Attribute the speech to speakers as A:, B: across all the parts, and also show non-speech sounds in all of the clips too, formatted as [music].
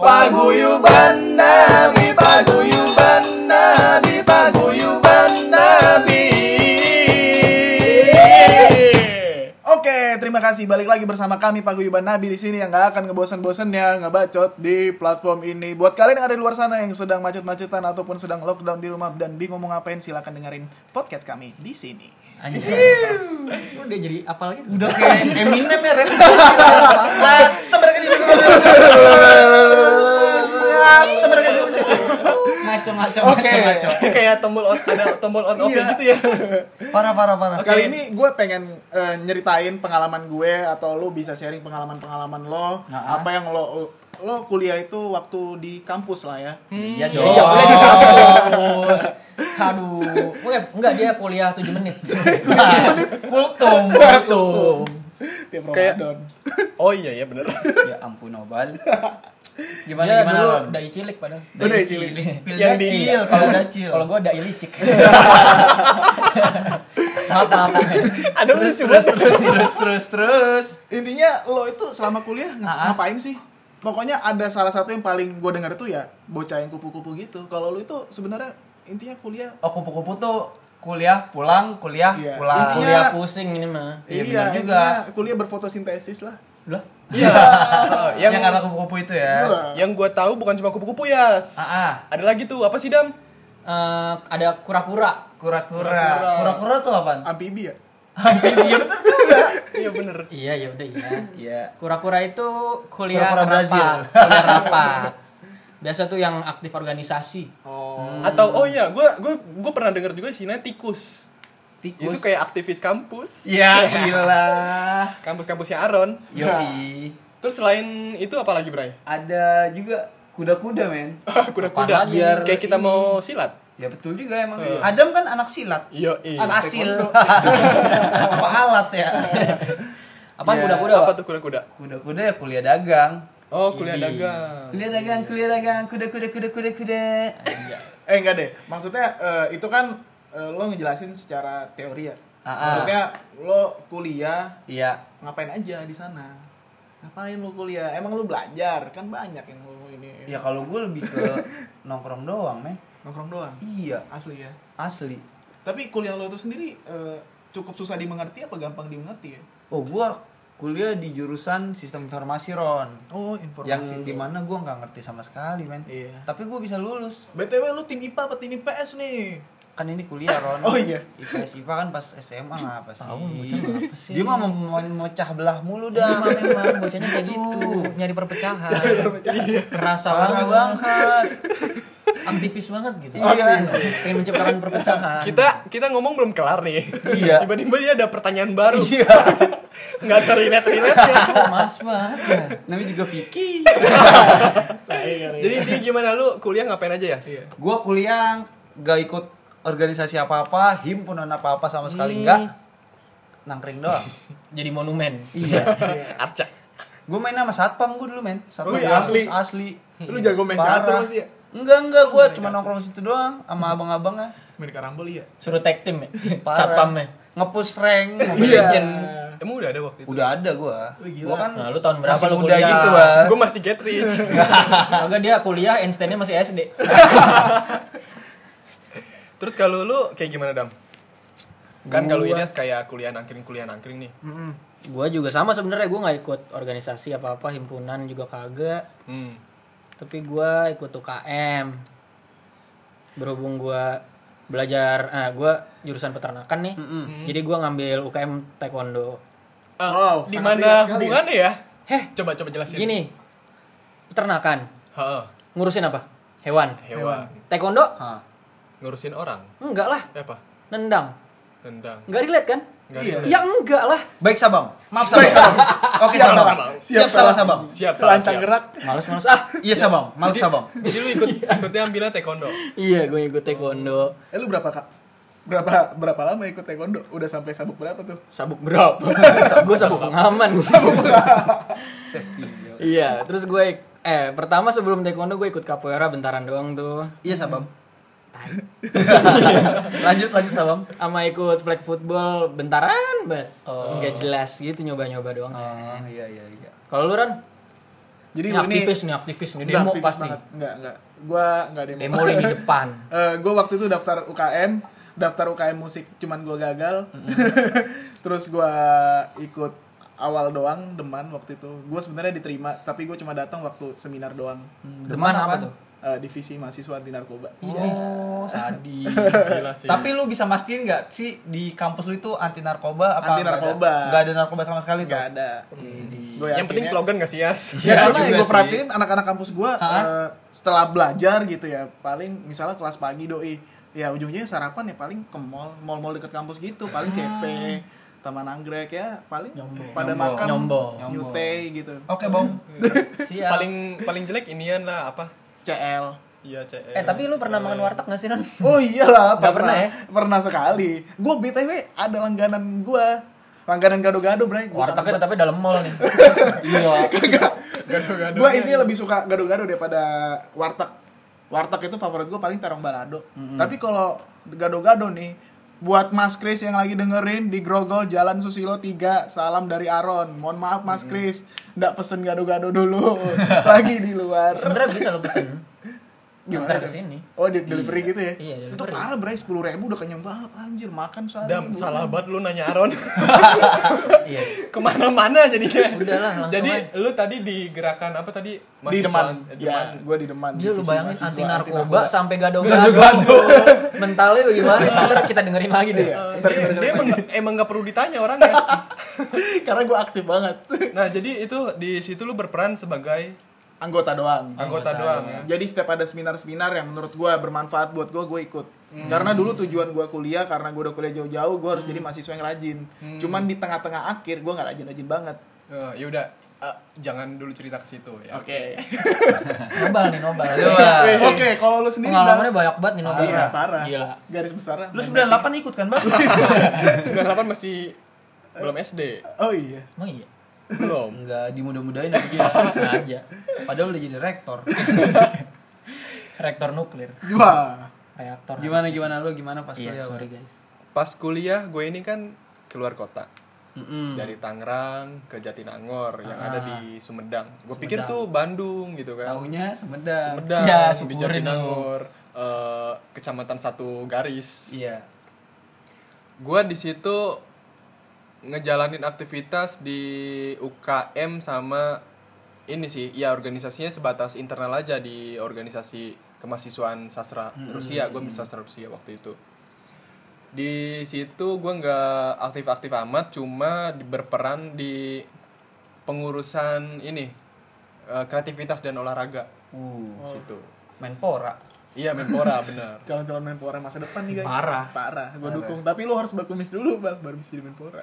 A: Paguyuban Nabi, paguyuban Nabi, paguyuban Nabi.
B: Oke, terima kasih. Balik lagi bersama kami Paguyuban Nabi di sini yang nggak akan ngebosan-bosannya ngebacot di platform ini. Buat kalian yang ada di luar sana yang sedang macet-macetan ataupun sedang lockdown di rumah dan bingung mau ngapain, silakan dengerin podcast kami di sini.
C: Anjir. Udah jadi apa lagi? [laughs] Udah kayak Eminem ya, Ren.
A: Nah, sebenarnya kecil, sebenarnya kecil.
D: Ah,
A: Nah, sebenarnya kecil, sebenarnya kecil.
C: Ngaco ngaco
B: Oke.
C: ngaco ngaco.
D: kayak tombol on ada tombol on off
B: Iya.
D: gitu ya
A: Parah, parah, parah.
D: Oke.
B: Kali ini gue pengen eh, nyeritain pengalaman gue atau lo bisa sharing pengalaman-pengalaman lo,
C: Nah.
B: apa yang lo lo kuliah itu waktu di kampus lah ya.
A: Iya
C: Ya,
A: dong.
C: ya, boleh di kampus. Aduh. Enggak, enggak dia kuliah 7 menit. [laughs] Iya. Kultum, kultum.
B: [laughs] Tiap
D: Kayak-
B: Ramadan.
D: oh iya ya bener
C: Ya ampun, Obal.
A: Gimana,
C: Dia
A: gimana?
C: Iya, dulu
A: Ron?
C: dai cilik padahal.
B: Lu dari Cilik.
C: Pil
A: Yang di-
C: dacil kalau
A: dacil.
C: dacil. Kalau gua dai [laughs] licik. Apa apa.
D: ada lucu banget
A: Terus, terus, terus.
B: Intinya lo itu selama kuliah ng-
A: Ah, ah.
B: ngapain sih? Pokoknya ada salah satu yang paling gue dengar itu ya bocah yang kupu-kupu gitu. Kalau lo itu sebenarnya intinya kuliah
A: Oh, kupu-kupu tuh kuliah pulang, kuliah
B: Iya.
A: pulang.
B: Intinya-
C: Kuliah pusing ini mah.
A: Iya,
B: iya
A: benar juga.
B: juga. kuliah berfotosintesis lah.
C: Lah,
A: Iya. yang,
D: Yang-
A: [laughs] yang karena kupu-kupu itu
B: Iya
A: ya.
B: lah.
D: yang gue tahu bukan cuma kupu-kupu yas
A: Ah, ah.
D: ada lagi tuh apa sih dam
C: eh, ada kura-kura.
A: Kura-kura.
D: Kura-kura.
A: Kura-kura tuh apa?
B: Amfibi ya.
A: Amphibia bener juga.
D: iya bener
C: Iya, ya udah iya.
A: Iya.
C: Kura-kura itu kuliah
A: Kura-kura
C: rapat,
A: Brazil.
C: kuliah rapat. Biasa tuh yang aktif organisasi.
B: Oh.
D: atau oh iya gue gue gue pernah dengar juga sih namanya tikus
A: Tikus.
D: itu kayak aktivis kampus
A: Ya gila.
D: kampus-kampusnya Aron
A: Yoi.
D: terus selain itu apa lagi Bray [laughs]
A: Ada juga kuda-kuda, men.
D: kuda-kuda
C: Apaan lagi?
D: biar kayak kita mau silat
A: Ya betul juga emang.
D: Iya.
A: Adam kan anak silat.
D: Iya,
C: Ah,
D: iya.
B: Anak
A: Asil.
B: taekwondo.
A: apa alat ya?
C: Apaan
A: Iya,
C: kuda-kuda?
D: apa
C: Pak?
D: tuh kuda-kuda?
A: Kuda-kuda ya kuliah dagang.
D: Oh, kuliah
C: Ini.
D: dagang.
A: Kuliah dagang, kuliah dagang, kuda-kuda, kuda-kuda, kuda.
B: Eh enggak deh. Maksudnya eh, itu kan eh, lo ngejelasin secara teori ya.
A: Ah, ah.
B: Maksudnya lo kuliah
A: Iya.
B: ngapain aja di sana? Ngapain lo kuliah? Emang lo belajar? Kan banyak yang lo ini
A: Ya kalau gue lebih ke nongkrong doang, men.
B: nongkrong doang.
A: Iya,
B: Asli ya.
A: asli.
B: Tapi kuliah lo itu sendiri eh, cukup susah dimengerti apa gampang dimengerti ya?
A: Oh, gua kuliah di jurusan sistem informasi Ron.
B: Oh, informasi.
A: Yang dimana gua nggak ngerti sama sekali, men.
B: Iya.
A: Tapi gua bisa lulus.
B: BTW lu tim IPA apa tim IPS nih?
A: Kan ini kuliah Ron.
B: Oh, iya.
A: IPS IPA kan pas SMA apa sih?
C: Tahu, bocah apa sih?
A: Dia mah mau mau mecah belah mulu dah.
C: Emang, emang, bocahnya kayak gitu, nyari perpecahan. Kerasa
A: Parah
C: banget,
A: banget.
C: aktivis banget gitu.
A: Iya.
C: Pengen menciptakan perpecahan.
D: Kita kita ngomong belum kelar nih.
A: Iya.
D: [laughs] Tiba-tiba dia ada pertanyaan baru. Iya. Enggak terlihat relate ya.
C: Kok Oh, mas banget ya?
A: Namanya juga Vicky.
D: Jadi intinya gimana lu kuliah ngapain aja ya?
B: Iya.
A: gua kuliah gak ikut organisasi apa-apa, himpunan apa-apa sama sekali enggak. Nangkring doang.
C: Jadi monumen.
A: iya.
D: [laughs] Arca.
A: Gue main sama satpam gue dulu men Satpam
B: Oh iya, asli.
A: Yasus, asli
B: Lu jago main
A: Parah.
B: catur pasti ya? Hmm.
A: Enggak enggak gue cuma nongkrong situ doang Sama abang-abangnya
B: Main karambol iya.
C: Suruh tag team ya?
A: Parah.
C: Satpamnya.
A: Ngepush
B: [laughs]
A: rank Mobile Legend
D: Emang udah ada waktu itu.
A: Udah ada gue
B: Iya. Wih, gila.
A: Gue kan
C: Nah, lu tahun berapa
A: masih
C: lu
A: muda
C: kuliah?
A: gitu Bang.
D: Gue masih get rich.
C: Agak dia kuliah, Einstein-nya masih SD.
D: Terus kalau lu kayak gimana, Dam? Kan kalau Ines kayak kuliah nangkring kuliah nangkring nih.
C: Gua juga sama sebenarnya gua nggak ikut organisasi apa-apa, himpunan juga kagak.
D: Hmm.
C: tapi gua ikut UKM berhubung gua belajar eh gua jurusan peternakan nih jadi gua ngambil UKM taekwondo
D: Ah,
B: Wow,
D: di mana
B: sangat relate sekali
D: hubungannya ya?
C: heh
D: Coba coba jelasin.
C: gini peternakan
D: Heeh.
C: ngurusin apa hewan
D: Hewan.
C: taekwondo
A: Hah.
D: Ngurusin orang.
C: enggak lah
D: Eh, Apa?
C: nendang
D: Tendang.
C: enggak relate kan
D: Enggak
B: Iya.
C: ya enggak lah
A: Baik sabang Maaf sabang [laughs] Oke
D: Siap,
A: sabang
D: Sabang.
A: Siap salah sabang
D: Siap, salah,
B: Selancang
D: siap.
B: gerak. Iya.
C: males males ah
A: Iya sabang Maaf sabang
D: Jadi lu ikut ikutnya ambilnya taekwondo.
C: iya gua ikut taekwondo
B: Eh lu berapa kak? Berapa berapa lama ikut taekwondo? Udah sampai sabuk berapa tuh?
C: sabuk berapa [laughs] gua sabuk pengaman
A: Safety
C: iya terus gue eh pertama sebelum taekwondo gue ikut capoeira bentaran doang tuh
A: Iya sabang [laughs] Lanjut lanjut sabang
C: sama ikut flag football Oh.
B: Ah,
C: bentaran banget nggak jelas gitu nyoba nyoba doang
A: Oh iya iya iya
C: kalau lu Ron
B: Jadi
C: ini
B: lu ini
C: aktivis nih aktivis nih
B: Enggak,
C: demo
B: aktivis
C: pasti
B: banget. Enggak, enggak. Gua enggak demo.
C: demo
B: [laughs]
C: lini depan
B: Eh, gue waktu itu daftar UKM, daftar UKM musik cuman gue gagal. [laughs] Terus gue ikut awal doang deman waktu itu. Gue sebenarnya diterima, tapi gue cuma datang waktu seminar doang.
C: deman apa
A: apaan?
C: tuh
B: Eh, divisi mahasiswa anti narkoba.
C: Iya.
A: [laughs] Oh, sadis.
D: Gila sih.
A: Tapi lu bisa mastiin nggak sih di kampus lu itu anti narkoba apa
B: Anti narkoba.
A: Enggak ada narkoba sama sekali tuh.
B: Enggak ada.
C: Iya.
B: Gua
D: Yang penting
B: yakinnya-
D: slogan gak sih, Yas?
B: [laughs] Ya,
A: Iya
B: karena
A: juga
B: yang gue
A: sih.
B: perhatiin anak-anak kampus gue
A: Hah?
B: setelah belajar gitu ya paling misalnya kelas pagi doi ya ujung-ujungnya sarapan ya paling ke mall mall-mall deket kampus gitu paling CP Taman Anggrek ya paling pada
A: Nyombong.
B: makan
C: Nyombong.
B: nyute gitu
A: Oke, [laughs] Bang.
B: Iya.
C: siap
D: Paling paling jelek inian lah apa?
B: CL
D: Iya, CE.
C: eh tapi lu pernah makan warteg nggak sih non
B: oh iyalah
C: Nggak pernah ya?
B: pernah sekali gue btw ada langganan gue langganan gado-gado bray Gua
C: wartegnya tetapi dalam mall nih
A: Iya.
B: gue intinya lebih suka gado-gado daripada warteg warteg itu favorit gue paling terong balado tapi kalau gado-gado nih buat Mas Kris yang lagi dengerin di Grogol Jalan Susilo 3 salam dari Aron mohon maaf Mas Kris ndak pesen gado-gado dulu [laughs] lagi di luar
C: [laughs] sebenarnya bisa lu pesen
B: Gimana
C: ntar
B: dong?
C: kesini
B: oh di delivery gitu ya
C: Iya,
B: itu
C: delivery.
B: parah bray sepuluh ribu udah kenyang banget anjir makan sehari
D: Dam,
B: Bu.
D: salah banget lu nanya Aron.
B: [laughs]
C: iya
D: Kemana-mana jadinya.
C: Udahlah, langsung
D: Jadi
C: aja.
D: lu tadi di gerakan apa tadi?
B: di
D: Mahasiswa-
B: deman
D: eh,
B: ya gue di deman
C: Gila lu
B: Divisi
C: bayangin
B: mahasiswa
C: anti narkoba sampai gado-gado. Mentalnya bagaimana? sih? Ntar kita dengerin lagi deh.
D: Eh, dia, dia emang, emang gak perlu ditanya orangnya.
B: [laughs] karena gue aktif banget
D: nah, jadi itu di situ lu berperan sebagai
B: anggota doang
D: anggota, doang ya.
B: Jadi setiap ada seminar-seminar yang menurut gue bermanfaat buat gue, gue ikut. Karena dulu tujuan gue kuliah, karena gue udah kuliah jauh-jauh, gue harus jadi mahasiswa yang rajin. Cuman di tengah-tengah akhir, gue nggak rajin-rajin banget.
D: Eh, ya udah, Eh, jangan dulu cerita ke situ ya.
B: Oke.
C: Nobal nih, nobal.
A: Coba.
B: [laughs] Oke, kalau lu sendiri
C: Pengalamannya
B: Bang.
C: banyak banget nih nobal.
B: Iya, parah.
C: Gila.
B: Garis besar.
A: Lu 98 ikut kan, [laughs] Bang?
D: 98 masih belum SD.
B: Oh iya.
C: Emang iya.
D: Belum.
A: Enggak, dimudah-mudahin aja gitu.
C: Sengaja.
A: Padahal udah jadi rektor.
C: Reaktor nuklir.
B: Wah.
C: Reaktor.
A: [laughs] Gimana gimana lu gimana pas
C: Iya,
A: kuliah?
C: sorry guys.
D: Pas kuliah gue ini kan keluar kota.
A: Mm-mm.
B: Hmm.
D: Dari Tangerang ke Jatinangor yang ada di
B: Ah.
D: Sumedang. Gue pikir tuh Bandung gitu kan.
A: Tahunya Sumedang.
D: Sumedang,
C: Ya,
D: di
C: syukurin
D: Jatinangor, eh, kecamatan satu garis.
A: Iya.
D: Gue di situ ngejalanin aktivitas di UKM sama ini sih, ya organisasinya sebatas internal aja di organisasi kemahasiswaan sastra Rusia. Gue ambil sastra Rusia waktu itu. Di situ gue nggak aktif-aktif amat, cuma di- berperan di pengurusan ini eh, kreativitas dan olahraga
A: Uh,
D: di situ.
A: Menpora.
D: Iya Menpora bener.
B: Calon-calon Menpora masa depan nih guys.
C: Parah.
B: Parah. Gue dukung. Tapi lu harus bakumis dulu bang, baru bisa jadi Menpora.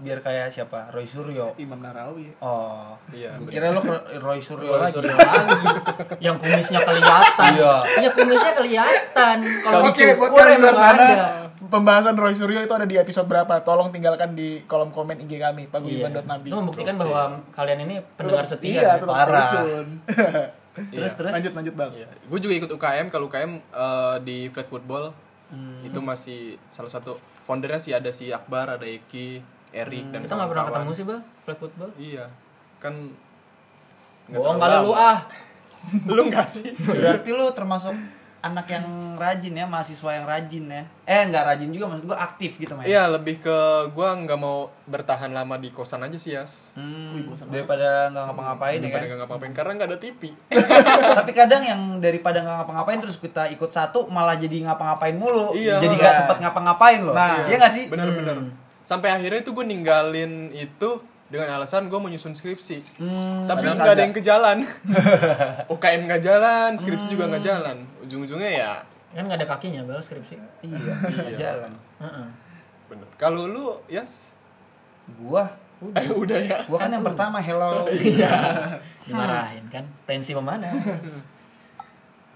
A: Biar kayak siapa? Roy Suryo.
B: Imam Narawi. ya.
A: Oh.
D: Iya,
A: Gua kira lu Roy- Roy Suryo
C: Gua
A: lagi.
C: sudah lagi. Yang kumisnya kelihatan.
A: Iya.
C: Iya, kumisnya kelihatan. Kalau
B: Oke, buat
C: dicukur
B: kalian di
C: emang
B: luar sana,
C: ada.
B: pembahasan Roy Suryo itu ada di episode berapa? Tolong tinggalkan di kolom komen IG kami, paguyuban.nabi.
C: Iya. Itu membuktikan bahwa kalian ini pendengar
B: Tetap
C: setia. ya. Iya.
B: Iya,
C: nih.
B: tetap
A: parah.
B: stay tune.
A: Terus terus.
B: lanjut, lanjut bang.
D: Gue Iya. juga ikut UKM, kalau UKM eh, di flag football
C: Hmm.
D: itu masih salah satu foundernya sih ada si Akbar, ada Eki, Erik dan
C: Hmm. Kita nggak pernah
D: kawan-kawan.
C: ketemu sih, Bang. Flag football.
D: Iya, kan nggak
C: Bohong
D: terlalu
C: kali lu
D: lama.
C: ah.
D: lu nggak sih?
A: Iya Berarti lu termasuk anak yang rajin ya, mahasiswa yang rajin ya. Eh, nggak rajin juga maksud gua aktif gitu main.
D: Iya lebih ke gue nggak mau bertahan lama di kosan aja sih Yas.
A: Hmm, daripada nggak ngapa-ngapain ya Eh,
D: Daripada
A: kan.
D: nggak ngapain karena nggak ada TV.
A: Tapi kadang yang daripada nggak ngapa-ngapain terus kita ikut satu malah jadi ngapa-ngapain mulu.
D: Iya.
A: Jadi nggak
B: Nah.
A: sempat ngapa-ngapain loh.
B: Nah.
A: Iya nggak sih?
D: Bener-bener.
C: Hmm.
D: Sampai akhirnya itu gue ninggalin itu dengan alasan gue menyusun skripsi.
A: Hmm,
D: Tapi
B: Padahal
D: nggak ada
B: kagak.
D: yang ke
B: [laughs]
D: jalan. UKM nggak jalan, skripsi juga nggak
B: Hmm.
D: jalan. Ujung-ujungnya ya.
C: Kan nggak ada kakinya, Bang, skripsi.
A: Iya, nggak jalan.
C: Heeh.
D: Bener. Kalau lu, yes.
A: Gua,
D: Eh, [laughs] udah ya.
A: gua kan yang pertama hello.
C: dimarahin kan tensi memana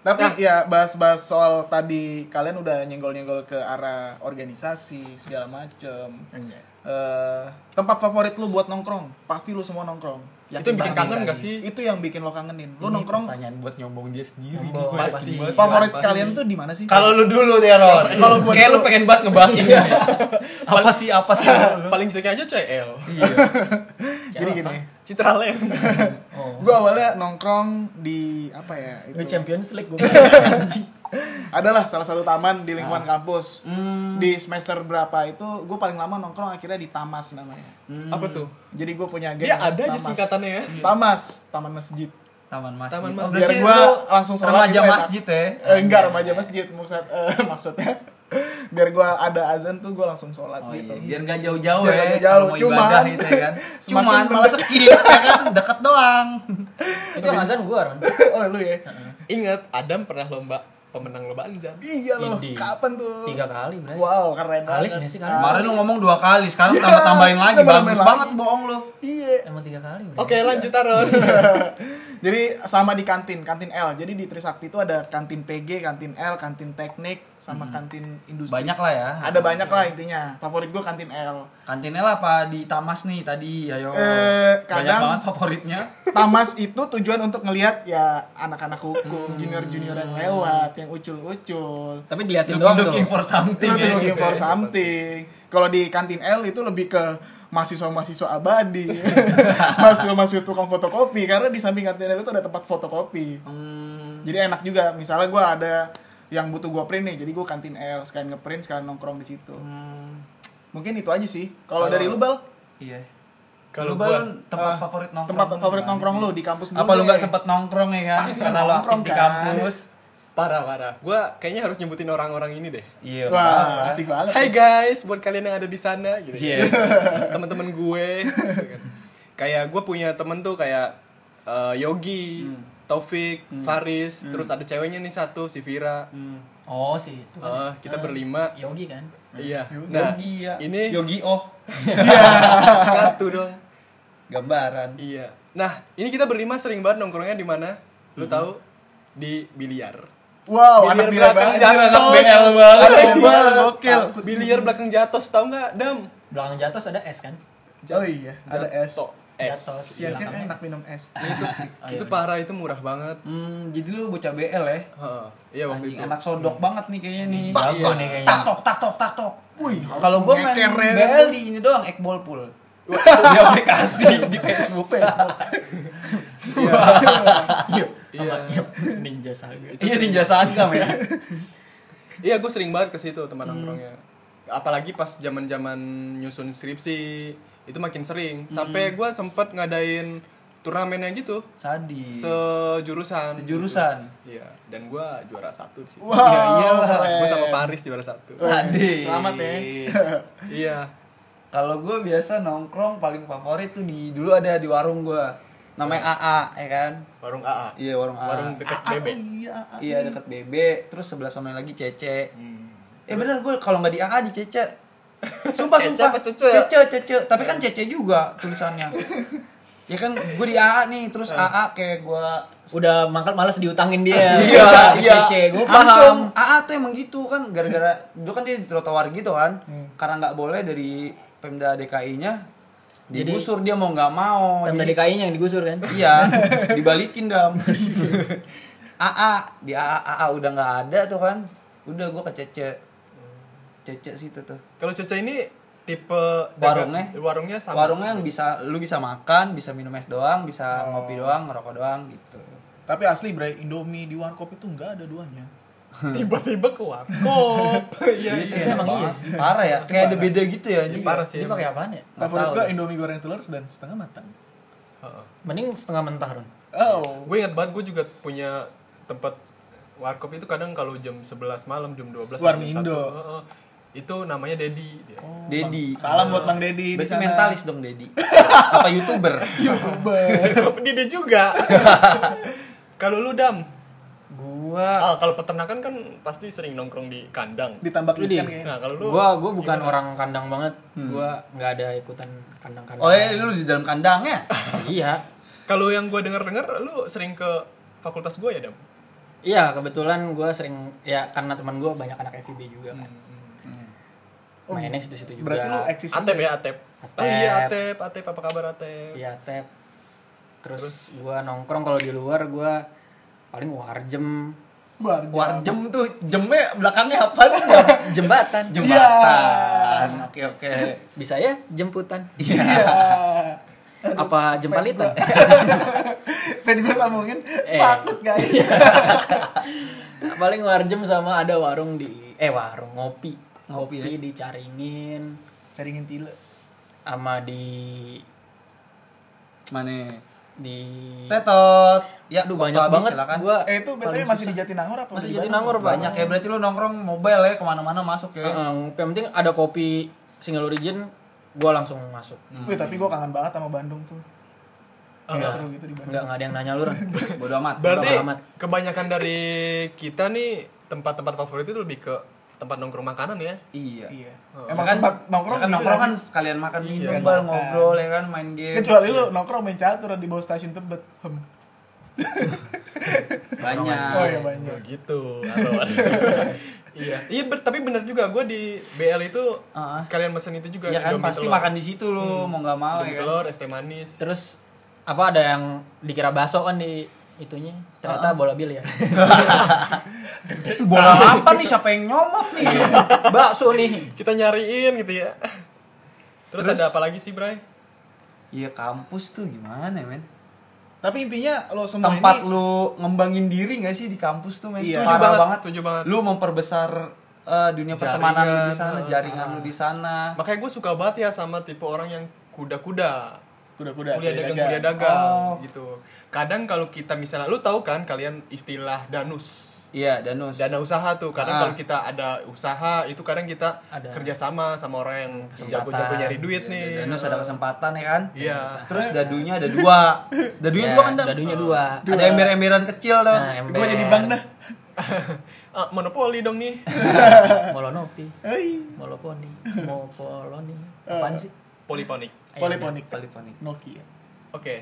B: Tapi ya bahas-bahas soal tadi kalian udah nyenggol-nyenggol ke arah organisasi segala macem.
C: Anjay.
B: Eh, tempat favorit lu buat nongkrong, pasti lu semua nongkrong.
D: Itu yang bikin
B: banget.
D: kangen nggak sih?
B: Itu yang bikin lo kangenin. Lu nongkrong
A: pertanyaan buat nyombong dia sendiri.
C: Nyombong,
A: Gua
C: pasti.
A: yakin banget.
B: favorit
D: Pasti.
B: kalian tuh di mana sih?
A: Kalau lu dulu Teron,
B: Kalau gua
A: kayak
B: dulu.
A: lu pengen banget ngebahas ini. apa sih apa sih? [laughs]
D: Paling jeleknya aja CL.
A: Iya.
B: Jadi
C: Siapa?
B: gini.
D: Citra Lem.
C: oh
B: Gue awalnya nongkrong di apa ya?
C: Ini
B: Itu.
C: Champions League gue.
B: Adalah salah satu taman di lingkungan kampus. Di semester berapa itu gue paling lama nongkrong akhirnya di Tamas namanya.
D: Apa tuh?
B: Jadi gue punya Hmm. geng
D: Dia ada aja
B: Tamas.
D: singkatannya ya.
B: Tamas, Taman Masjid.
A: Taman masjid.
D: Taman
A: Oh,
D: masjid.
A: berarti
B: Biar gua
A: lu
B: langsung sholat
A: remaja
B: gitu ya,
A: masjid ya.
B: Eh, enggak remaja masjid maksud eh, [laughs] maksudnya. Biar gue ada azan tuh gue langsung sholat
A: Oh,
B: gitu.
A: iya. Biar nggak jauh-jauh
B: Biar
A: ya.
B: nggak jauh.
A: kalau mau
B: Cuman-
A: ibadah gitu [laughs] ya kan.
B: Semakin
A: Cuman malah
B: mendekat.
A: skip ya kan deket doang.
C: Itu yang azan gue kan.
B: [laughs] oh lu ya?
D: Ingat Adam pernah lomba pemenang lomba anjam.
B: Iya loh.
C: Idi.
B: Kapan tuh?
C: Tiga kali berarti.
B: Wow keren
C: Kali
B: banget.
C: nggak sih? Kali.
A: Kemarin lu ngomong dua kali, sekarang tambah-tambahin lagi.
B: tambah-tambahin
A: Bagus
B: lagi.
A: banget bohong lu.
B: Iya.
C: Emang tiga kali. berarti.
D: Oke, lanjut
B: [laughs]
D: Aron.
B: Jadi sama di kantin, kantin L. Jadi di Trisakti itu ada kantin PG, kantin L, kantin teknik, sama kantin industri.
A: Hmm. Banyak lah ya.
B: Ada banyak lah intinya. Favorit gue kantin L.
A: Kantinnya lah apa di Tamas nih tadi, ayo.
B: Eh,
A: Banyak
B: kadang-
A: banget favoritnya. [laughs]
B: Tamas itu tujuan untuk ngelihat ya anak-anak
A: Hmm.
B: hukum, junior-junior yang lewat, yang ucul-ucul.
C: Tapi diliatin doang tuh.
A: Looking for something
B: Itu
A: ya.
B: looking for something.
A: iya.
B: Kalau di kantin L itu lebih ke mahasiswa-mahasiswa abadi, [laughs] mahasiswa-mahasiswa tukang fotokopi karena di samping kantin L itu ada tempat fotokopi.
A: Hmm,
B: Jadi enak juga. Misalnya gue ada yang butuh gue print nih, jadi gue kantin L sekalian ngeprint sekalian nongkrong di situ.
A: hmm,
B: Mungkin itu aja sih. Kalau
D: Kalau-
B: dari lu bal,
A: iya.
D: Kalau
A: Lu,
D: gua-
A: Bal, tempat
B: eh,
A: favorit nongkrong.
B: tempat
A: lu
B: favorit
A: gimana
B: nongkrong
A: sih?
B: lu di kampus
A: Apa lu
B: dulu
A: nggak
B: deh.
A: sempet nongkrong ya kan?
B: Pasti
A: Karena lu aktif
B: nongkrong,
A: di
B: kan?
A: kampus.
D: Parah, parah. Gua kayaknya harus nyebutin orang-orang ini deh.
A: Iya.
B: Wah, asik banget.
D: Hai guys, buat kalian yang ada di sana gitu.
A: Iya.
D: [laughs] Teman-teman gue. gitu kan. kayak gue punya temen tuh kayak eh, Yogi,
A: Hmm.
D: Taufik, Faris, terus ada ceweknya nih satu si Vira.
A: Hmm.
C: Oh sih. Itu
D: Eh,
C: kan.
D: kita berlima.
C: Yogi kan.
D: Iya. Nah,
A: Ah. Hmm. Yogi ya.
D: ini
A: Yogi oh
D: [laughs] kartu dong.
A: gambaran.
D: Iya. Nah, ini kita berlima sering banget nongkrongnya di mana?
A: Hmm.
D: Lu tahu? Di biliar.
A: Oh,
B: Wow, anak
D: Biliar
B: bila
D: belakang
B: banget.
D: jatuh.
A: anak BL banget.
D: Anak
A: Iya,
D: BL,
A: gokil.
D: Biliar belakang jatos tau nggak, Dam?
C: Belakang jatuh ada S kan.
B: Oh iya, ada es.
D: Jato.
C: Jatos.
D: S.
B: Siang-siang Iya
C: Belakang kan? Oh, iya,
B: enak
C: es.
B: minum es.
D: Itu parah, itu murah banget.
A: Hmm, jadi lu bocah BL ya.
D: Heeh. Iya waktu
A: Anjing,
D: itu.
A: anak sodok banget nih kayaknya nih.
C: iya.
A: Iya.
C: Jago nih kayaknya. [laughs]
A: Tak tok, tak tok, tak tok.
B: Wih,
A: Kalau gua main BL di ini doang, Ekbol Pool. Iya, di aplikasi di Facebook.
C: Yuk.
D: Iya.
C: Sama yuk. Ninja Saga.
A: Iya ninja sangka ya.
D: Iya, gue sering banget ke situ teman
A: Hmm.
D: nongkrongnya. Apalagi pas zaman-zaman nyusun skripsi, itu makin
A: Hmm.
D: sering. Sampai gue sempet ngadain turnamennya gitu,
A: Sadis.
D: sejurusan.
A: Sejurusan.
D: Gitu. Iya, dan gue juara satu di situ.
B: Wow,
A: Iya, iyalah.
B: keren.
D: Gue sama Paris juara satu.
A: Sadis.
B: Selamat ya.
D: iya.
A: Kalau gue biasa nongkrong paling favorit tuh di dulu ada di warung gue namanya AA ya kan
D: Warung AA.
A: iya warung AA
D: Warung dekat Bebe.
B: Ah, Iya. ah.
A: iya dekat BB terus sebelah sana lagi Cece eh bener gue kalau nggak di AA di [laughs] Cece sumpah
D: Cece
A: sumpah
D: apa Cece?
A: Cece Cece. tapi kan Cece juga [laughs] tulisannya ya kan gue di AA nih terus AA kayak gue
C: Udah mangkal malas diutangin dia.
A: Hmm. [laughs] Iya, iya.
C: Cece, gue
A: Langsung,
C: paham.
A: AA tuh emang gitu kan gara-gara dulu kan dia di trotoar gitu kan. Karena nggak boleh dari Pemda DKI-nya digusur dia mau nggak mau.
C: Pemda
A: Jadi-
C: DKI-nya yang digusur kan.
A: Iya, dibalikin dam. [laughs] AA di AA, AA udah nggak ada tuh kan. Udah gua ke Cece. Cece situ tuh.
D: Kalau Cece ini tipe dagang-
A: Warungnya,
D: warungnya sama.
A: warungnya
D: [laughs]
A: yang bisa lu bisa makan, bisa minum es doang, bisa ngopi doang, ngerokok doang gitu.
B: Tapi asli bre, Indomie di warkop itu nggak ada duanya.
D: tiba-tiba ke warkop.
A: [laughs]
D: Iya,
A: sih,
D: iya.
A: enak
C: emang iya
A: banget. Parah ya, kayak ada beda gitu
D: Ini
A: ya. anjing.
D: Iya, parah sih.
C: Dia pakai apaan ya?
A: Nggak
B: Favorit
A: tahu
B: gue
A: deh.
B: Indomie goreng telur dan setengah matang.
D: Heeh.
C: Mending setengah mentah, Ron.
B: Oh.
D: Gue ingat banget gue juga punya tempat warkop itu kadang kalau jam 11 malam, jam 12
B: Warmi
D: jam
B: Indo.
D: 1, heeh. itu namanya Dedi. dia.
A: Oh.
D: [laughs]
A: Dedi.
B: Salam buat Bang Dedi di
A: Berarti
B: sana.
A: mentalis dong Dedi. Apa youtuber?
B: Youtuber.
D: Sama Dede juga. [laughs] kalau lu dam,
C: Gua
D: ah, kalau peternakan kan pasti sering nongkrong di kandang.
B: Ditambah
C: Ini.
B: ikan kayaknya.
D: Nah, kalau lu
C: gua gua bukan orang kandang banget.
B: Hmm.
C: Gua nggak ada ikutan kandang-kandang.
A: Oh
B: iya?
A: ya, lu di dalam kandangnya.
C: Iya.
D: kalau yang gue denger-denger lu sering ke fakultas gue ya, Dam?
C: Iya, kebetulan gua sering ya karena teman gua banyak anak FIB juga kan.
B: Hmm,
C: Mainnya situ-situ juga.
B: Oh, Berarti lu eksis aja.
D: Atep ya, Atep.
C: Atep.
D: Oh iya, Atep, Atep apa kabar Atep?
C: Iya, tap. Terus, gua nongkrong kalau di luar gua paling warjem.
B: Warga.
A: Warjem tuh, jemnya belakangnya apa nih? Jam?
C: Jembatan.
A: Jembatan. Oke oke.
C: Bisa ya jemputan.
B: [laughs] Iya.
C: Apa jempalitan?
B: Tadi gue sambungin,
C: Eh.
B: takut guys.
C: [laughs]
B: [laughs]
C: paling warjem sama ada warung di eh warung ngopi
A: Ngopi,
C: ngopi,
B: ya?
C: dicaringin
B: Caringin tile.
C: sama di
A: Mana?
C: di
A: Tetot. Ya,
C: aduh
A: waktu
C: banyak
A: habis,
C: banget
A: silakan.
C: gua
B: Eh itu
C: paling
B: betulnya masih di
C: susah.
B: Jatinangor apa?
C: masih
B: di
C: jadi
B: Bandung?
C: nangor
A: banyak
C: banyak
A: ya berarti lu nongkrong mobile ya kemana-mana masuk ya.
C: yang penting ada kopi single origin gua langsung masuk
A: Hmm.
B: Wih tapi gue kangen banget sama Bandung tuh. Kayak seru gitu di Bandung.
C: nggak nggak ada yang nanya
B: [laughs]
C: lu Ren.
A: Bodo amat.
D: Berarti
C: Bodo amat.
D: kebanyakan dari kita nih tempat-tempat favorit itu lebih ke tempat nongkrong makanan ya.
A: Iya.
B: Iya.
A: Ya
B: Emang
A: kan,
B: tempat nongkrong
A: ya kan
B: gitu
A: nongkrong
B: gak
A: kan
B: sih?
A: sekalian makan minum,
B: Iya.
A: bal,
B: Makan.
A: ngobrol ya kan, main game.
B: Kecuali lu nongkrong main catur di bawah stasiun Tebet. Hem.
A: banyak.
B: Oh iya banyak.
D: Begitu.
A: [laughs]
D: Halo, halo. gitu. Iya. Iya, ber- tapi benar juga gue di BL itu
A: Ah.
D: sekalian mesen itu juga
A: Ya kan
D: Iya Indomie
A: pasti
D: telur.
A: makan di situ lu,
B: Hmm.
A: mau nggak mau
D: Indomie
A: ya kan. [laughs]
D: telur, es teh manis.
C: terus apa ada yang dikira baso kan di itunya ternyata bola ya. biliar
A: Bola apa nih siapa yang nyomot nih?
C: [laughs]
B: Iya.
C: bakso nih
D: Kita nyariin gitu ya. Terus, ada apa lagi sih, Bray?
A: Iya kampus tuh gimana
B: Nah,
A: men?
B: Tapi intinya lo semua
A: Tempat
B: ini
A: lu ngembangin diri gak sih di kampus tuh men?
B: Iya.
A: Setuju
D: Setuju
A: banget,
D: banget, setuju banget.
A: Lu memperbesar eh, dunia pertemanan lu
D: Jaringan,
A: di sana,
D: eh,
A: jaringan lu di sana.
D: Makanya gue suka banget ya sama tipe orang yang kuda-kuda.
B: kuda-kuda.
D: Kuliah
B: kuda
D: dagang,
B: dagang.
D: kuliah dagang
A: Oh.
D: gitu. Kadang kalau kita misalnya lu tahu kan kalian istilah danus.
A: Iya, Danus.
D: dana usaha tuh kadang
A: Ah.
D: kalau kita ada usaha itu kadang kita
C: Ada.
D: kerjasama sama orang yang
C: Kesempatan.
D: jago-jago nyari duit nih
A: Iya, Danus ada kesempatan ya kan?
D: iya
A: Terus dadunya ada dua. Dadunya
C: Ya,
A: dua kan, Dam?
C: dadunya dua
A: Ada ember-emberan kecil tuh.
C: nah ember
B: Gue jadi bank
C: [laughs]
B: dah.
D: [laughs] Ah, monopoli dong
A: [laughs]
D: nih
C: molonopi
B: Hei.
C: moloponi mopoloni apaan sih
D: poliponik
B: Poliponik.
A: Poliponik.
B: Nokia.
D: oke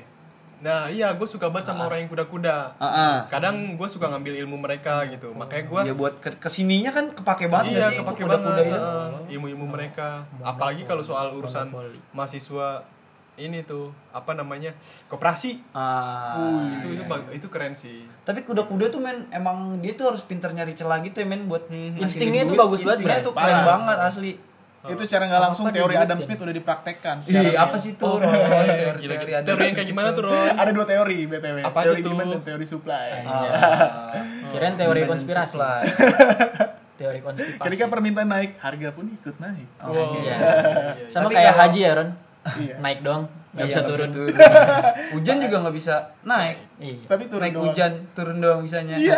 D: nah iya gue suka banget
A: Ah.
D: sama orang yang kuda-kuda
A: Heeh.
D: kadang gue suka ngambil ilmu mereka gitu makanya gue
A: Ya buat ke kesininya kan kepake banget
D: iya
A: gak sih
D: kepake
A: itu
D: banget
A: kuda-kuda ya.
D: eh, ilmu-ilmu mereka apalagi kalau soal urusan
C: Monopoli.
D: mahasiswa ini tuh apa namanya koperasi
A: Ah,
D: itu ya. itu bag- itu keren sih
A: Tapi kuda-kuda tuh men emang dia tuh harus pinter nyari celah gitu ya men buat
D: Hmm.
A: ngasilin
C: Instingnya
A: duit.
C: tuh bagus banget,
A: Instingnya
C: Bray.
A: tuh keren
B: Parah.
A: banget asli.
B: Itu secara nggak langsung
C: Apa
B: teori
C: dibuat
B: Adam
C: ya?
B: Smith udah dipraktekkan.
A: Ih,
B: secara
A: apa
B: real.
A: sih tuh? Roy? Teori-
D: gila gila
A: teori ada-
D: Oh, teori yang kayak gimana tuh Ron
B: Ada dua teori BTW.
D: Apa aja
B: teori
D: tuh?
B: demand dan teori supply.
A: Ah.
C: kirain Kan teori
A: Demand and
C: konspirasi
A: supply.
C: teori konspirasi
B: Ketika permintaan naik, harga pun ikut naik.
D: Wow.
C: Iya.
D: Iya.
C: sama
A: Tapi
C: kayak
A: kalau-
C: haji ya Ron
B: Iya.
C: naik doang nggak
A: Iya,
C: bisa turun
A: Hujan juga nggak bisa naik.
C: iya
B: Tapi turun
A: naik
B: doang.
A: hujan, turun doang Ya, bisanya.
B: Iya.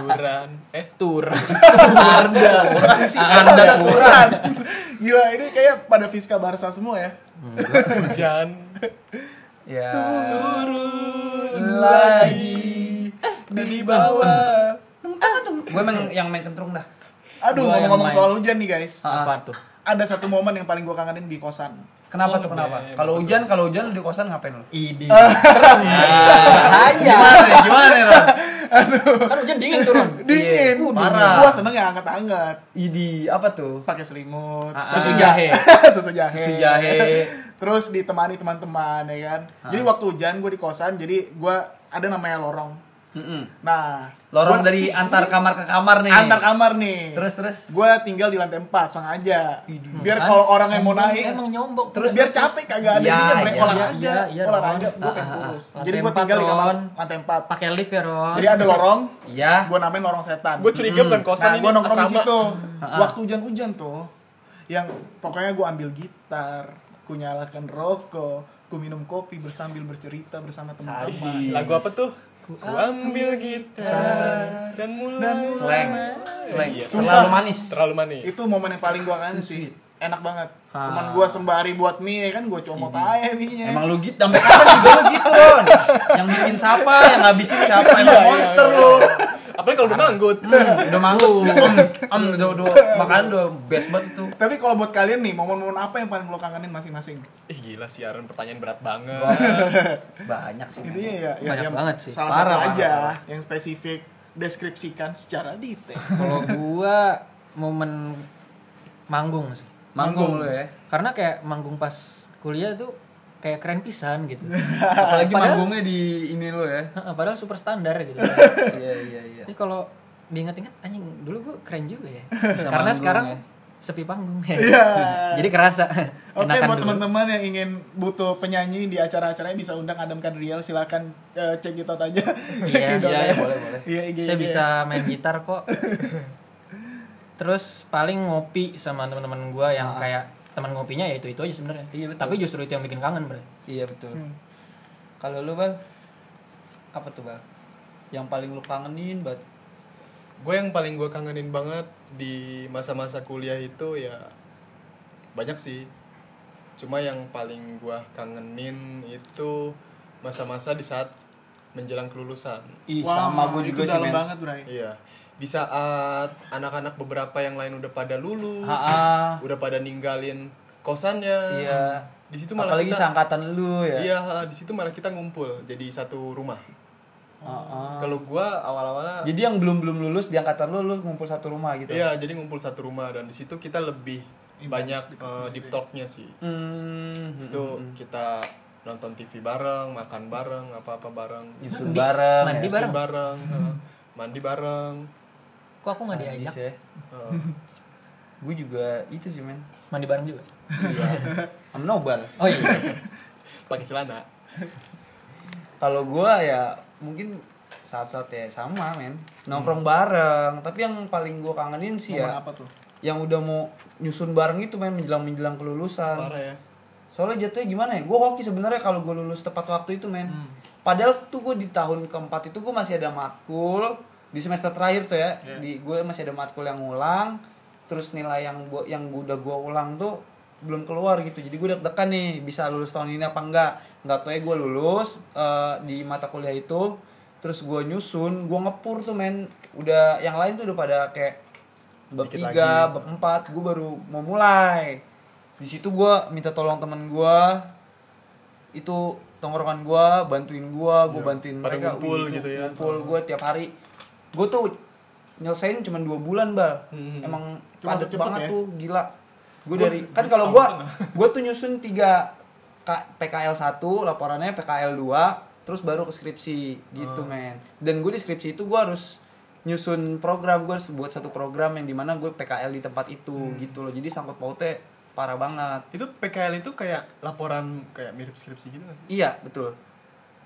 D: Duran. Eh,
B: [laughs]
C: tur ada
B: Iya.
C: ada
B: Aturan. [laughs] Gila, ini kayak pada Fiska Barca semua ya.
D: hujan.
A: Ya. Turun lagi
B: Eh,
A: di bawah. Gue emang yang main kentrung dah.
B: Aduh,
C: Gua yang
B: ngomong-ngomong
C: main.
B: soal hujan nih guys.
C: apa tuh
B: Ada satu momen yang paling gue kangenin di kosan.
A: Kenapa
D: Oh,
A: tuh kenapa?
D: iya, iya,
A: Kalau
D: betul.
A: hujan, kalau hujan lu di kosan ngapain lu?
C: Idi,
B: Ah.
C: serem bahaya.
A: Ah. Gimana ya, Ron?
C: Kan hujan dingin turun.
B: Dingin,
A: Iya,
B: Waduh,
A: parah.
B: Gua seneng yang anget-anget.
A: Idi apa tuh?
B: Pakai selimut,
A: Ah,
C: Susu
A: ah.
C: jahe.
B: [laughs] susu jahe.
A: Susu jahe.
B: Terus ditemani teman-teman ya kan. Jadi waktu hujan gue di kosan, jadi gue ada namanya lorong.
A: Mm-mm.
B: Nah,
A: Lorong dari antar kamar ke kamar nih.
B: antar kamar nih.
A: Terus terus
B: gue tinggal di lantai 4 sengaja.
A: Idih.
B: Biar
C: Kan?
B: kalau orang yang mau
C: Sombong,
B: naik
C: emang nyombok.
B: terus biar
A: terus,
B: capek kagak ada
A: Iya,
B: dia boleh
A: iya,
B: olahraga.
C: iya, iya,
B: olahraga
C: Ron.
B: gue pengen
C: Ah, ah,
B: kurus.
C: ah.
B: Jadi gue
C: Lantai
B: tinggal di
C: empat,
B: kamar
C: Ron.
B: lantai 4.
C: Pakai lift ya, Ron.
B: Jadi ada lorong,
A: Iya.
B: gue namain lorong setan.
D: Gue curiga bukan
B: Nah,
D: kosan ini
B: gue nongkrong di
D: asrama.
B: situ. Waktu hujan-hujan tuh, yang pokoknya gue ambil gitar, ku nyalakan rokok, ku minum kopi bersambil bercerita bersama teman-teman.
A: Sabi.
D: Lagu apa tuh? Ku ambil gitar dan mulai
A: slang. Slang.
D: Iya.
A: Terlalu
B: Sumpah.
A: manis.
D: terlalu manis.
B: Itu momen yang paling gue kangen sih. Enak banget.
A: Ah.
B: Teman gue sembari buat mie, ya kan gue comot aja mie-nya.
A: Emang lu gitu sampai kapan juga lu gitu, Ron? Yang bikin siapa, yang ngabisin siapa, emang monster lu.
D: Apalagi kalau udah manggut.
A: Udah manggung. Em, udah udah makanan udah best banget itu.
B: Tapi kalau buat kalian nih, momen-momen apa yang paling lo kangenin masing-masing?
D: Ih gila siaran pertanyaan berat banget.
A: Banyak sih.
B: Intinya ya, ya
C: Banyak
B: yang
C: banget sih.
B: Salah
A: Parah,
B: satu aja
A: parah.
B: yang spesifik deskripsikan secara detail.
C: Kalau gua momen manggung sih.
A: Manggung lu ya.
C: Karena kayak manggung pas kuliah tuh kayak keren pisan
B: [laughs]
C: gitu.
A: Apalagi
C: Padahal-
A: manggungnya di ini lu ya.
C: Heeh, Padahal super standar gitu.
A: Iya iya iya. [laughs]
C: Tapi kalau diinget-inget anjing dulu gua keren juga ya. Karena
A: manggung
C: sekarang
A: ya.
C: sepi panggung
B: Iya.
C: [laughs] jadi kerasa [laughs]
B: Oke
C: enakan
B: buat
C: dulu.
B: teman-teman yang ingin butuh penyanyi di acara-acaranya bisa undang Adam Kadriel silakan eh, check it out aja. [laughs] check
C: Iya,
B: it out
A: iya,
B: aja.
A: iya, boleh, boleh.
B: Iya, IG.
C: saya
B: [laughs]
C: bisa main gitar kok terus paling ngopi sama teman-teman gue yang kayak teman ngopinya ya itu itu aja sebenarnya
A: Ah. Iya, betul.
C: tapi justru itu yang bikin kangen bre
A: Iya betul. Kalau lu bal, apa tuh bal? Yang paling lu kangenin buat
D: Gue yang paling gue kangenin banget di masa-masa kuliah itu ya banyak sih. Cuma yang paling gue kangenin itu masa-masa di saat menjelang kelulusan.
A: Ih,
B: Wah,
A: sama
B: itu
A: gue juga sih
B: dalam
A: men.
B: banget, Bray.
D: Iya. Di saat anak-anak beberapa yang lain udah pada lulus,
A: Ha-ha.
D: udah pada ninggalin kosannya.
A: Iya.
D: Di situ malah
A: Apalagi
D: kita,
A: sangkatan lu ya.
D: Iya, ha, di situ malah kita ngumpul jadi satu rumah.
A: Heeh.
D: Kalau gua awal-awalnya
A: Jadi yang belum belum lulus di angkatan lu lu ngumpul satu rumah gitu.
D: Iya, jadi ngumpul satu rumah dan di situ kita lebih banyak eh, deep talk-nya sih.
A: Hmm,
D: Di situ kita nonton TV bareng, makan bareng, apa-apa bareng,
A: nyusun bareng.
C: mandi
A: ya.
C: bareng.
D: Nyusun bareng, eh, mandi bareng.
C: kok aku nggak
A: Sadis
C: diajak
A: ya.
D: eh,
A: Gue juga itu sih men.
C: mandi bareng juga
A: Iya. [laughs] Am nobal.
C: oh
A: [laughs]
C: iya
D: pakai celana.
A: Kalau gua ya mungkin saat-saat ya sama men nongkrong bareng tapi yang paling gua kangenin sih
B: Momen
A: ya
B: apa tuh?
A: yang udah mau nyusun bareng itu men menjelang menjelang kelulusan
D: Parah ya.
A: soalnya jatuhnya gimana ya gue hoki sebenarnya kalau gue lulus tepat waktu itu men padahal tuh gue di tahun keempat itu gue masih ada matkul di semester terakhir tuh ya di gue masih ada matkul yang ulang terus nilai yang gua yang gua- udah gue ulang tuh belum keluar gitu jadi gue deg-degan nih bisa lulus tahun ini apa enggak nggak tau ya gue lulus eh, di mata kuliah itu terus gue nyusun gue ngepur tuh men udah yang lain tuh udah pada kayak bab
D: Dikit
A: tiga bab empat gue baru mau mulai di situ gue minta tolong teman gue itu tongkrongan gue bantuin gue gue bantuin
D: Iya, pada
A: mereka
D: ngumpul gitu ya.
A: ngumpul gue tiap hari gue tuh nyelesain cuma dua bulan bal
D: Hmm.
A: emang
B: Cuma
A: padat
B: cepet
A: banget
B: ya.
A: tuh gila gue dari kan kalau gue gue tuh nyusun tiga K- PKL 1 laporannya PKL 2 terus baru ke skripsi
D: Oh.
A: gitu men dan gue di skripsi itu gue harus nyusun program gue harus buat satu program yang dimana gue PKL di tempat itu
D: Hmm.
A: gitu loh jadi sangkut pautnya parah banget
D: Itu PKL itu kayak laporan kayak mirip skripsi gitu gak sih?
A: Iya, betul.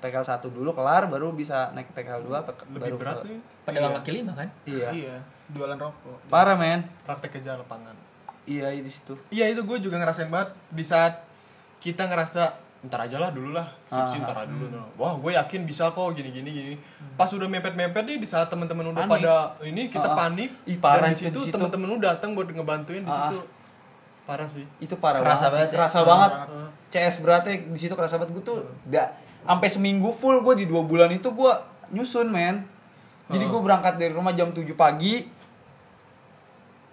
A: PKL 1 dulu kelar baru bisa naik ke PKL 2
D: Lebih
A: baru
D: berat
A: ke-
D: nih
C: pedagang kaki lima kan
A: Iya.
B: Iya, jualan rokok.
A: Parah, men.
D: praktek kerja lapangan.
A: Iya, di situ.
D: Iya itu gue juga ngerasain banget di saat kita ngerasa ntar aja lah dulu lah skripsi
A: Ah,
D: ntar aja dulu
A: hmm.
D: wah gue yakin bisa kok gini gini gini pas udah mepet mepet nih di saat teman-teman udah pada ini kita
A: Ah, ah.
D: panik
A: Ih,
D: dan
A: parah
D: di
A: itu di
D: situ
A: situ. Ah,
D: teman-teman lu datang buat ngebantuin di situ parah sih
A: Itu parah
C: Kerasa banget Hmm.
A: banget. sih.
C: ya.
A: Kerasa banget. Hmm. CS beratnya di situ kerasa banget gue tuh enggak sampai seminggu full gue di dua bulan itu gue nyusun, men.
C: Hmm.
A: Jadi gue berangkat dari rumah jam 7 pagi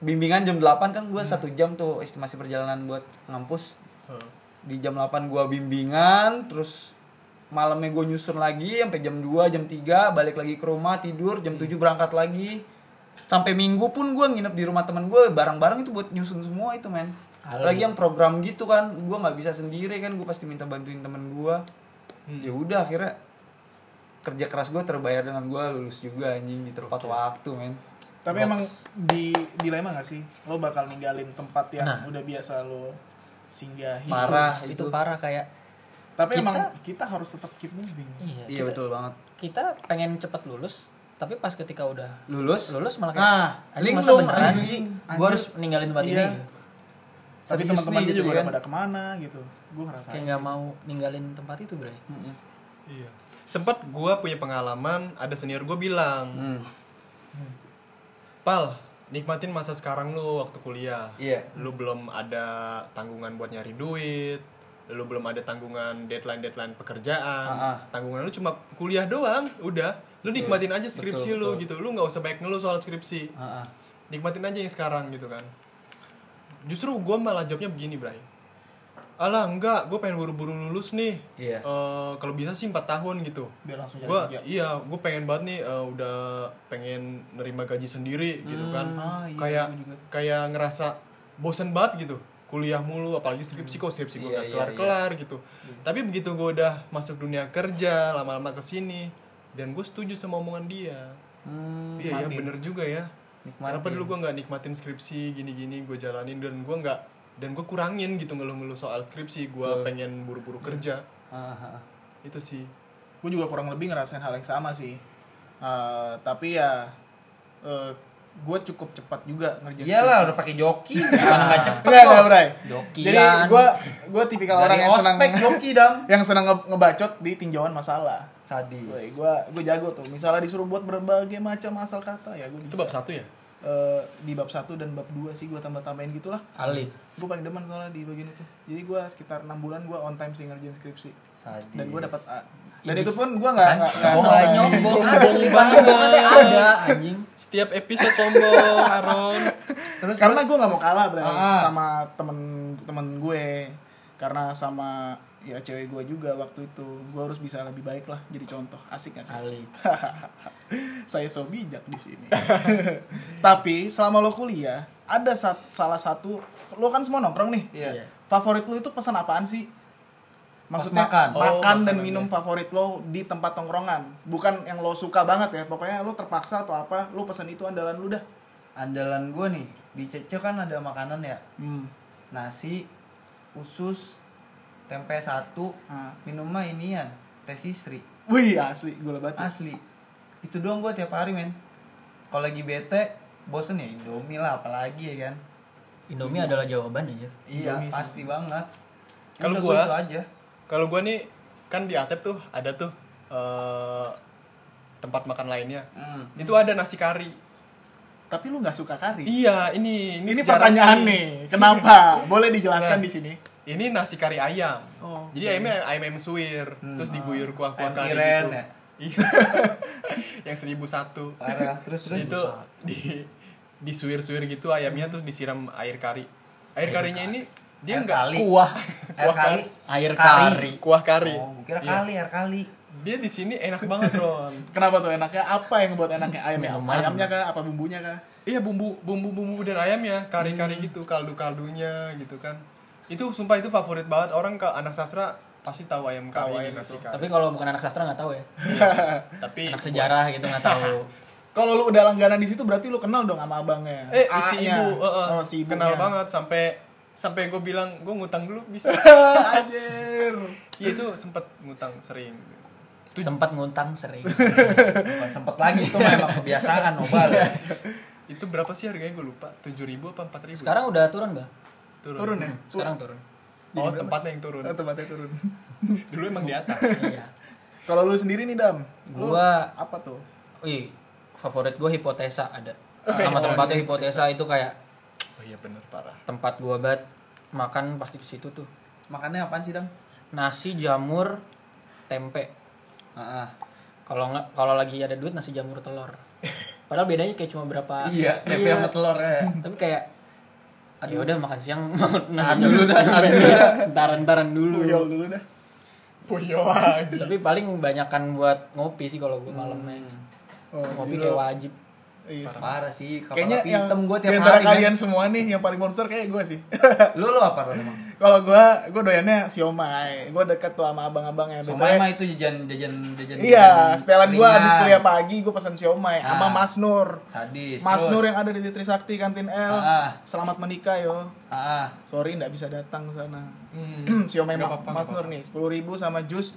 A: bimbingan jam 8 kan gue
C: Hmm.
A: satu jam tuh estimasi perjalanan buat ngampus
D: Heeh.
A: di jam 8 gua bimbingan terus malamnya gue nyusun lagi sampai jam 2 jam 3 balik lagi ke rumah tidur jam 7 berangkat lagi sampai minggu pun gua nginep di rumah teman gue barang-barang itu buat nyusun semua itu men
C: Alam.
A: lagi yang program gitu kan gua nggak bisa sendiri kan gue pasti minta bantuin temen gua
D: Hmm,
A: ya udah akhirnya kerja keras gue terbayar dengan gua lulus juga anjing di tempat waktu men
B: Tapi emang di dilema gak sih? Lo bakal ninggalin tempat yang
C: Nah.
B: udah biasa lo singgahi.
A: Parah
C: itu,
A: itu,
C: itu parah kayak
B: Tapi
C: Kita-
B: emang kita harus tetap keep moving.
C: iya,
A: iya
C: kita,
A: betul banget
C: kita pengen cepet lulus tapi pas ketika udah
A: lulus
C: lulus malah kayak
A: nah
C: anjing masa
A: linglung
C: beneran
A: anjing.
C: sih
B: Anjing.
C: gue harus ninggalin tempat
B: Iya.
C: ini
B: Tapi
A: Serius
B: teman-temannya
A: nih, gitu
B: juga udah
A: kan.
B: pada kemana gitu. Gue ngerasa.
C: kayak nggak mau ninggalin tempat itu bre
A: Mm-mm.
D: iya sempat gue punya pengalaman ada senior gue bilang
A: Hmm.
D: pal nikmatin masa sekarang lu waktu kuliah
A: iya
D: lu belum ada tanggungan buat nyari duit lu belum ada tanggungan deadline deadline pekerjaan
A: Ah, ah.
D: tanggungan lu cuma kuliah doang udah lu nikmatin aja skripsi
A: betul,
D: lu
A: betul.
D: gitu lu nggak usah banyak ngeluh soal skripsi
A: Ah, ah.
D: nikmatin aja yang sekarang gitu kan justru gue malah jawabnya begini Bray alah enggak gue pengen buru-buru lulus nih
A: Iya.
D: Eh, kalau bisa sih 4 tahun gitu
B: Biar langsung jadi
D: gue
B: kerja.
D: iya gue pengen banget nih eh, udah pengen nerima gaji sendiri gitu
A: Hmm.
D: kan
B: Ah, iya,
D: kayak
B: gua juga.
D: kayak ngerasa bosen banget gitu kuliah mulu apalagi skripsi kok skripsi gue
A: Iya,
D: gak
A: iya, Hmm.
D: kelar kelar gitu tapi begitu gue udah masuk dunia kerja
A: Hmm,
D: lama-lama kesini dan gue setuju sama omongan dia iya ya iya, bener juga ya
A: nikmatin
D: Kenapa dulu gue nggak nikmatin skripsi gini-gini gue jalanin dan gue nggak dan gue kurangin gitu ngeluh-ngeluh soal skripsi gue pengen buru-buru
A: Iya.
D: kerja
A: Ah, ah.
D: itu sih
B: gue juga kurang lebih ngerasain hal yang sama sih Eh, tapi ya gue cukup cepat juga ngerjain
A: iyalah udah pakai
D: [laughs]
A: joki gimana nggak cepet
B: Enggak, enggak,
A: loh.
B: Bray.
C: Joki
B: Jadi
C: Las.
B: gue gue tipikal orang
A: dari
B: yang senang
A: ospek joki dam
B: [laughs] yang senang nge- ngebacot di tinjauan masalah. Gue
A: sadis
B: gue jago tuh. Misalnya disuruh buat berbagai macam asal kata ya gue
D: itu
B: bisa.
D: bab satu ya
B: Eh, di bab 1 dan bab 2 sih gue tambah-tambahin gitulah.
C: Alit.
B: Gue paling demen soalnya di bagian itu. Jadi gue sekitar 6 bulan gue on time sih ngerjain skripsi
A: sadis
B: dan gue dapat A. Dan itu pun gue nggak nggak nggak
A: Kan? Bohong
B: salah. ya.
A: lagi.
C: Sombong
A: Sombong
C: asli banget teh ada anjing.
D: setiap episode sombong Aron
A: terus
B: karena gue nggak mau kalah Bray
A: Ah.
B: sama temen temen gue karena sama ya cewek gue juga waktu itu gue harus bisa lebih baik lah jadi contoh asik gak sih
C: Alit.
B: [laughs] saya so bijak di sini [laughs] tapi selama lo kuliah ada sat- salah satu lo kan semua nongkrong nih
A: iya
B: favorit lo itu pesan apaan sih maksudnya makan,
A: makan. Oh,
B: dan
D: makanannya.
B: minum favorit lo di tempat tongkrongan bukan yang lo suka banget ya pokoknya lo terpaksa atau apa lo pesan itu andalan lo dah
A: andalan gue nih di Cece kan ada makanan ya
B: hmm.
A: nasi usus tempe satu
B: Ah.
A: minum mah inian teh sisri
B: Wih asli gula batu.
A: asli itu doang gue tiap hari men kalau lagi bete bosen ya indomie lah apalagi ya kan
C: Indomie adalah jawaban aja.
A: iya
B: Indomie
A: pasti banget
D: Kalau
A: Udah,
D: gua-
A: itu aja
D: kalau gue nih kan di Atep tuh ada tuh eh, tempat makan lainnya
A: Hmm.
D: itu ada nasi kari
B: Tapi lu nggak suka kari.
D: iya ini
B: Ini
D: sejarah
B: pertanyaan
D: ini.
B: nih.
D: [laughs]
B: Kenapa? Boleh dijelaskan di sini.
D: ini nasi kari ayam
B: Oh.
D: jadi ya- ayamnya ayam ayam suwir terus diguyur kuah kuah
A: Hmm. Ayam
D: kari
A: tiren
D: gitu
A: ya?
D: Iya. [laughs] yang seribu satu
A: parah terus terus
D: itu di di suwir suwir gitu ayamnya terus disiram air kari air karinya ini dia
A: Hmm. Air
D: nggak
A: kali.
D: kuah
A: air
D: kuah
A: kan? kali
C: Air kari.
D: kuah kari
A: oh gua kira
D: Iya.
A: kali air kali
D: dia di sini enak banget Ron
B: Kenapa tuh enaknya? Apa yang buat enaknya ayam ya?
C: Minuman.
B: Ayamnya kah? Apa bumbunya kah?
D: Iya bumbu bumbu bumbu dan ayamnya kari kari gitu kaldu kaldunya gitu kan itu sumpah itu favorit banget orang ke anak sastra pasti tahu ayam kari
B: Tahu ayam
D: nasi kari
C: Tapi kalau bukan anak sastra nggak tahu ya.
A: Iya,
D: tapi
C: Anak sejarah gitu nggak tahu.
B: Kalau lu udah langganan di situ berarti lu kenal dong sama abangnya.
D: eh si
B: A-nya.
D: ibu eh, eh,
B: Ah, Oh, si ibunya.
D: kenal banget sampai sampai gue bilang gue ngutang dulu bisa
B: [laughs] Anjir.
D: Iya itu sempet ngutang sering
C: Sempat nguntang sering.
A: bukan sempet lagi itu memang kebiasaan nobal [laughs] ya.
D: itu berapa sih harganya gue lupa tujuh ribu apa empat ribu
C: Sekarang udah turun nggak?
D: turun,
B: Turun ya?
C: Sekarang turun.
D: oh tempatnya yang turun
B: Oh, tempatnya turun.
D: dulu emang di
C: [laughs]
D: atas
C: Iya.
B: Kalau lu sendiri nih, Dam. Lu
C: Gua
B: apa tuh?
C: Wih, favorit gue hipotesa ada.
A: Oh, iya.
C: Sama tempatnya hipotesa itu kayak
D: oh iya bener parah
C: tempat gue banget makan pasti ke situ tuh.
A: makannya apaan sih dam
C: Nasi jamur tempe.
A: Ah, ah.
C: Kalau nggak kalau lagi ada duit nasi jamur telur. Padahal bedanya kayak cuma berapa.
A: iya tempe sama telur ya
C: Tapi kayak Aduh udah makan siang [laughs] nasi Iya.
A: Tahan dulu dah, tahan dulu
C: Taran-taran dulu.
B: Puyol dulu dah.
D: puyol lagi
C: Tapi paling banyakan buat ngopi sih kalau gue malamnya.
B: [laughs] Oh,
C: Ngopi
B: gila.
C: kayak wajib.
B: Iya sih.
A: parah sih kepala
B: Kayaknya yang
A: hitam gue
B: di
A: tiap
B: antara
A: hari
B: kalian
A: kalian
B: semua nih yang paling monster kayak gue sih. [laughs]
A: lu lu apa Ron, emang
B: Kalau gua, gua doyannya siomay. Gua deket tuh sama abang-abangnya.
A: Somai mah itu jajan jajan jajan.
B: ya. Iya,
A: jajan
B: setelan gua habis
A: ringan.
B: kuliah pagi gua pesan siomay sama
A: Ah.
B: Mas Nur.
A: Sadis.
B: Mas
A: terus.
B: Nur yang ada di Trisakti kantin L.
A: Ah.
B: Selamat menikah yo.
A: Ah, ah.
B: Sorry nggak bisa datang ke sana. [clears throat]
D: Hmm.
B: siomay
D: Nggak
B: Ma-
D: apa-apa,
B: Mas
D: nggak
B: Nur nih, 10.000 sama jus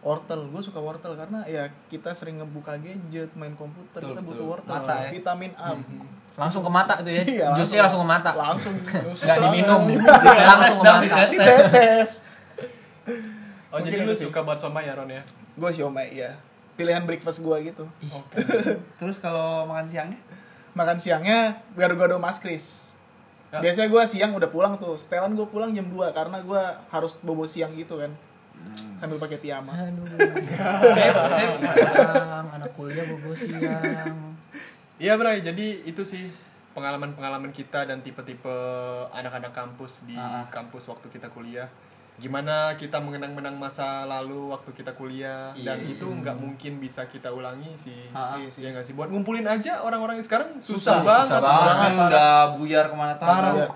B: wortel. Gue suka wortel karena ya kita sering ngebuka gadget, main komputer,
A: Betul,
B: kita butuh
A: betul.
B: wortel,
A: Mata, ya.
B: vitamin A.
C: Langsung ke mata itu ya.
B: Iya,
C: Jusnya langsung ke mata.
A: [laughs]
B: Langsung
C: Nggak diminum.
B: [laughs]
A: Dites
C: langsung ke
A: dong,
C: mata.
B: Iya.
A: dites.
D: oh jadi
B: Mungkin
D: lu
B: itu sih.
D: suka buat somai ya Ron ya
B: Gue siomay ya. Pilihan breakfast gue gitu.
A: Terus kalau makan siangnya?
B: makan siangnya gado-gado Mas Kris.
D: Ya.
B: Biasanya gue siang udah pulang tuh. Setelan gue pulang jam 2 karena gue harus bobo siang gitu kan. Sambil pakai piyama.
C: Aduh. [laughs]
A: Sip, sip.
C: Siang, anak kuliah bobo siang.
D: Iya Bray, jadi itu sih pengalaman-pengalaman kita dan tipe-tipe anak-anak kampus di
A: Ah.
D: kampus waktu kita kuliah. Gimana kita mengenang-menang masa lalu waktu kita kuliah
A: Iya.
D: dan itu nggak mungkin bisa kita ulangi sih.
A: Ah.
D: Iya sih. Ya nggak sih? Buat ngumpulin aja orang-orang yang sekarang susah,
A: Susah
D: banget.
A: Susah banget.
D: Parah.
A: Udah buyar kemana
B: Iya.
A: tahu.
D: Parah.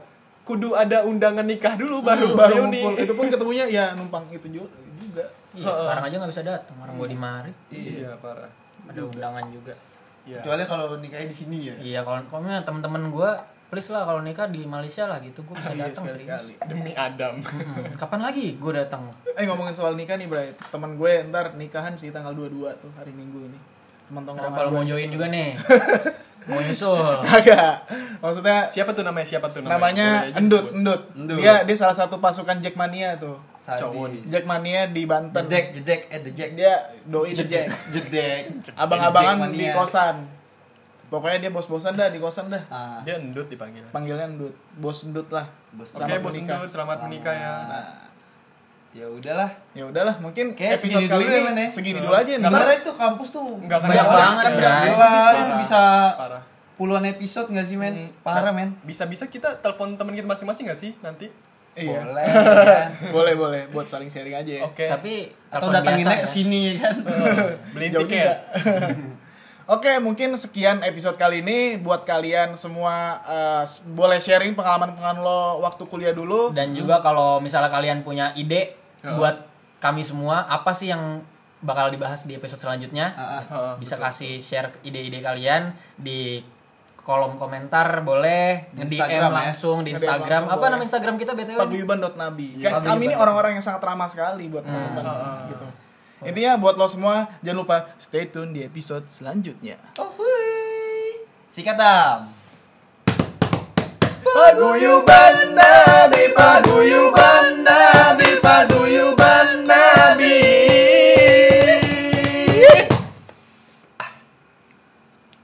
D: Kudu ada undangan nikah dulu baru
B: Baru
D: reuni.
B: ngumpul. Itu pun ketemunya ya numpang itu ju- juga.
C: Iya, sekarang aja nggak bisa datang orang gue di mari.
D: Iya, parah.
C: Ada Iya. undangan juga.
D: Iya.
A: Kecuali kalau nikahnya di sini ya.
C: Iya kalau kalau misalnya teman-teman gue please lah kalau nikah di Malaysia lah gitu gue bisa datang serius.
D: Demi Adam. [laughs]
C: Hmm, Kapan lagi gue datang?
B: Eh ngomongin soal nikah nih Bray, teman gue ntar nikahan sih tanggal 22 tuh hari Minggu ini. Teman
C: Kenapa
B: tongkrongan
C: kalau
B: gue. [laughs]
C: mau join juga [laughs] nih? mau nyusul?
B: Agak. Maksudnya
D: siapa tuh namanya? Siapa tuh namanya?
B: namanya
D: Boleh aja
B: Endut,
D: disebut.
B: Endut.
A: Endut.
B: Dia dia salah satu pasukan Jackmania tuh.
A: Sadi.
D: Cowok nih.
B: Jackmania di Banten.
A: Jedek, jedek, eh the jack.
B: Dia doi the Jack.
A: Jedek.
B: Iya, Abang-abangan
A: Jedek
B: di
A: mania.
B: kosan. Pokoknya dia bos-bosan dah di kosan dah.
A: Ah,
D: Dia Endut dipanggilnya. Oke,
B: Panggilnya Endut, bos Endut lah.
A: bos.
B: Selamat
D: Bos
B: menikah.
D: Endut, selamat menikah ya.
A: Nah, ya udahlah.
B: Ya udahlah, mungkin
A: Kayaknya
B: episode
A: segini
B: kali
A: dulu ya,
B: ini
A: Men, ya.
B: segini dulu aja ntar.
A: Sebenarnya itu kampus tuh
D: Nggak akan
C: Banyak
A: orang
C: banget,
A: sih,
C: Bray.
A: gila, itu
D: Parah.
A: bisa
D: Parah.
A: puluhan episode nggak sih men?
D: Hmm.
A: Parah men.
D: Bisa-bisa kita telepon teman kita masing-masing gak sih nanti?
B: Iya.
A: Boleh. Oh, kan?
B: [laughs] Boleh, boleh buat saling sharing aja ya.
D: Oke.
C: Tapi telepon
A: Atau
C: biasa
A: datanginnya
C: ya.
A: ke sini kan.
D: [laughs] Beli
B: [laughs] Jauh juga.
D: tiket.
B: Oke, mungkin sekian episode kali ini buat kalian semua eh, s- boleh sharing pengalaman-pengalaman lo waktu kuliah dulu.
C: Dan juga kalau misalnya kalian punya ide
D: Oh.
C: buat kami semua apa sih yang bakal dibahas di episode selanjutnya?
A: Ah,
D: Heeh.
C: Eh, bisa kasih share ide-ide kalian di kolom komentar boleh
A: Di
C: di DM
A: Instagram ya.
C: langsung di
B: Nge-DM
C: Instagram
B: langsung
C: apa
B: boleh.
C: nama Instagram kita btw
B: Paguyuban.nabi. Kayak
C: Paguyuban.
B: kami ini orang-orang yang sangat ramah sekali buat teman-teman gitu. Intinya buat lo semua jangan lupa stay tune di episode selanjutnya.
A: Oh, hui. Sikatam.
B: Paguyuban Nabi Paguyuban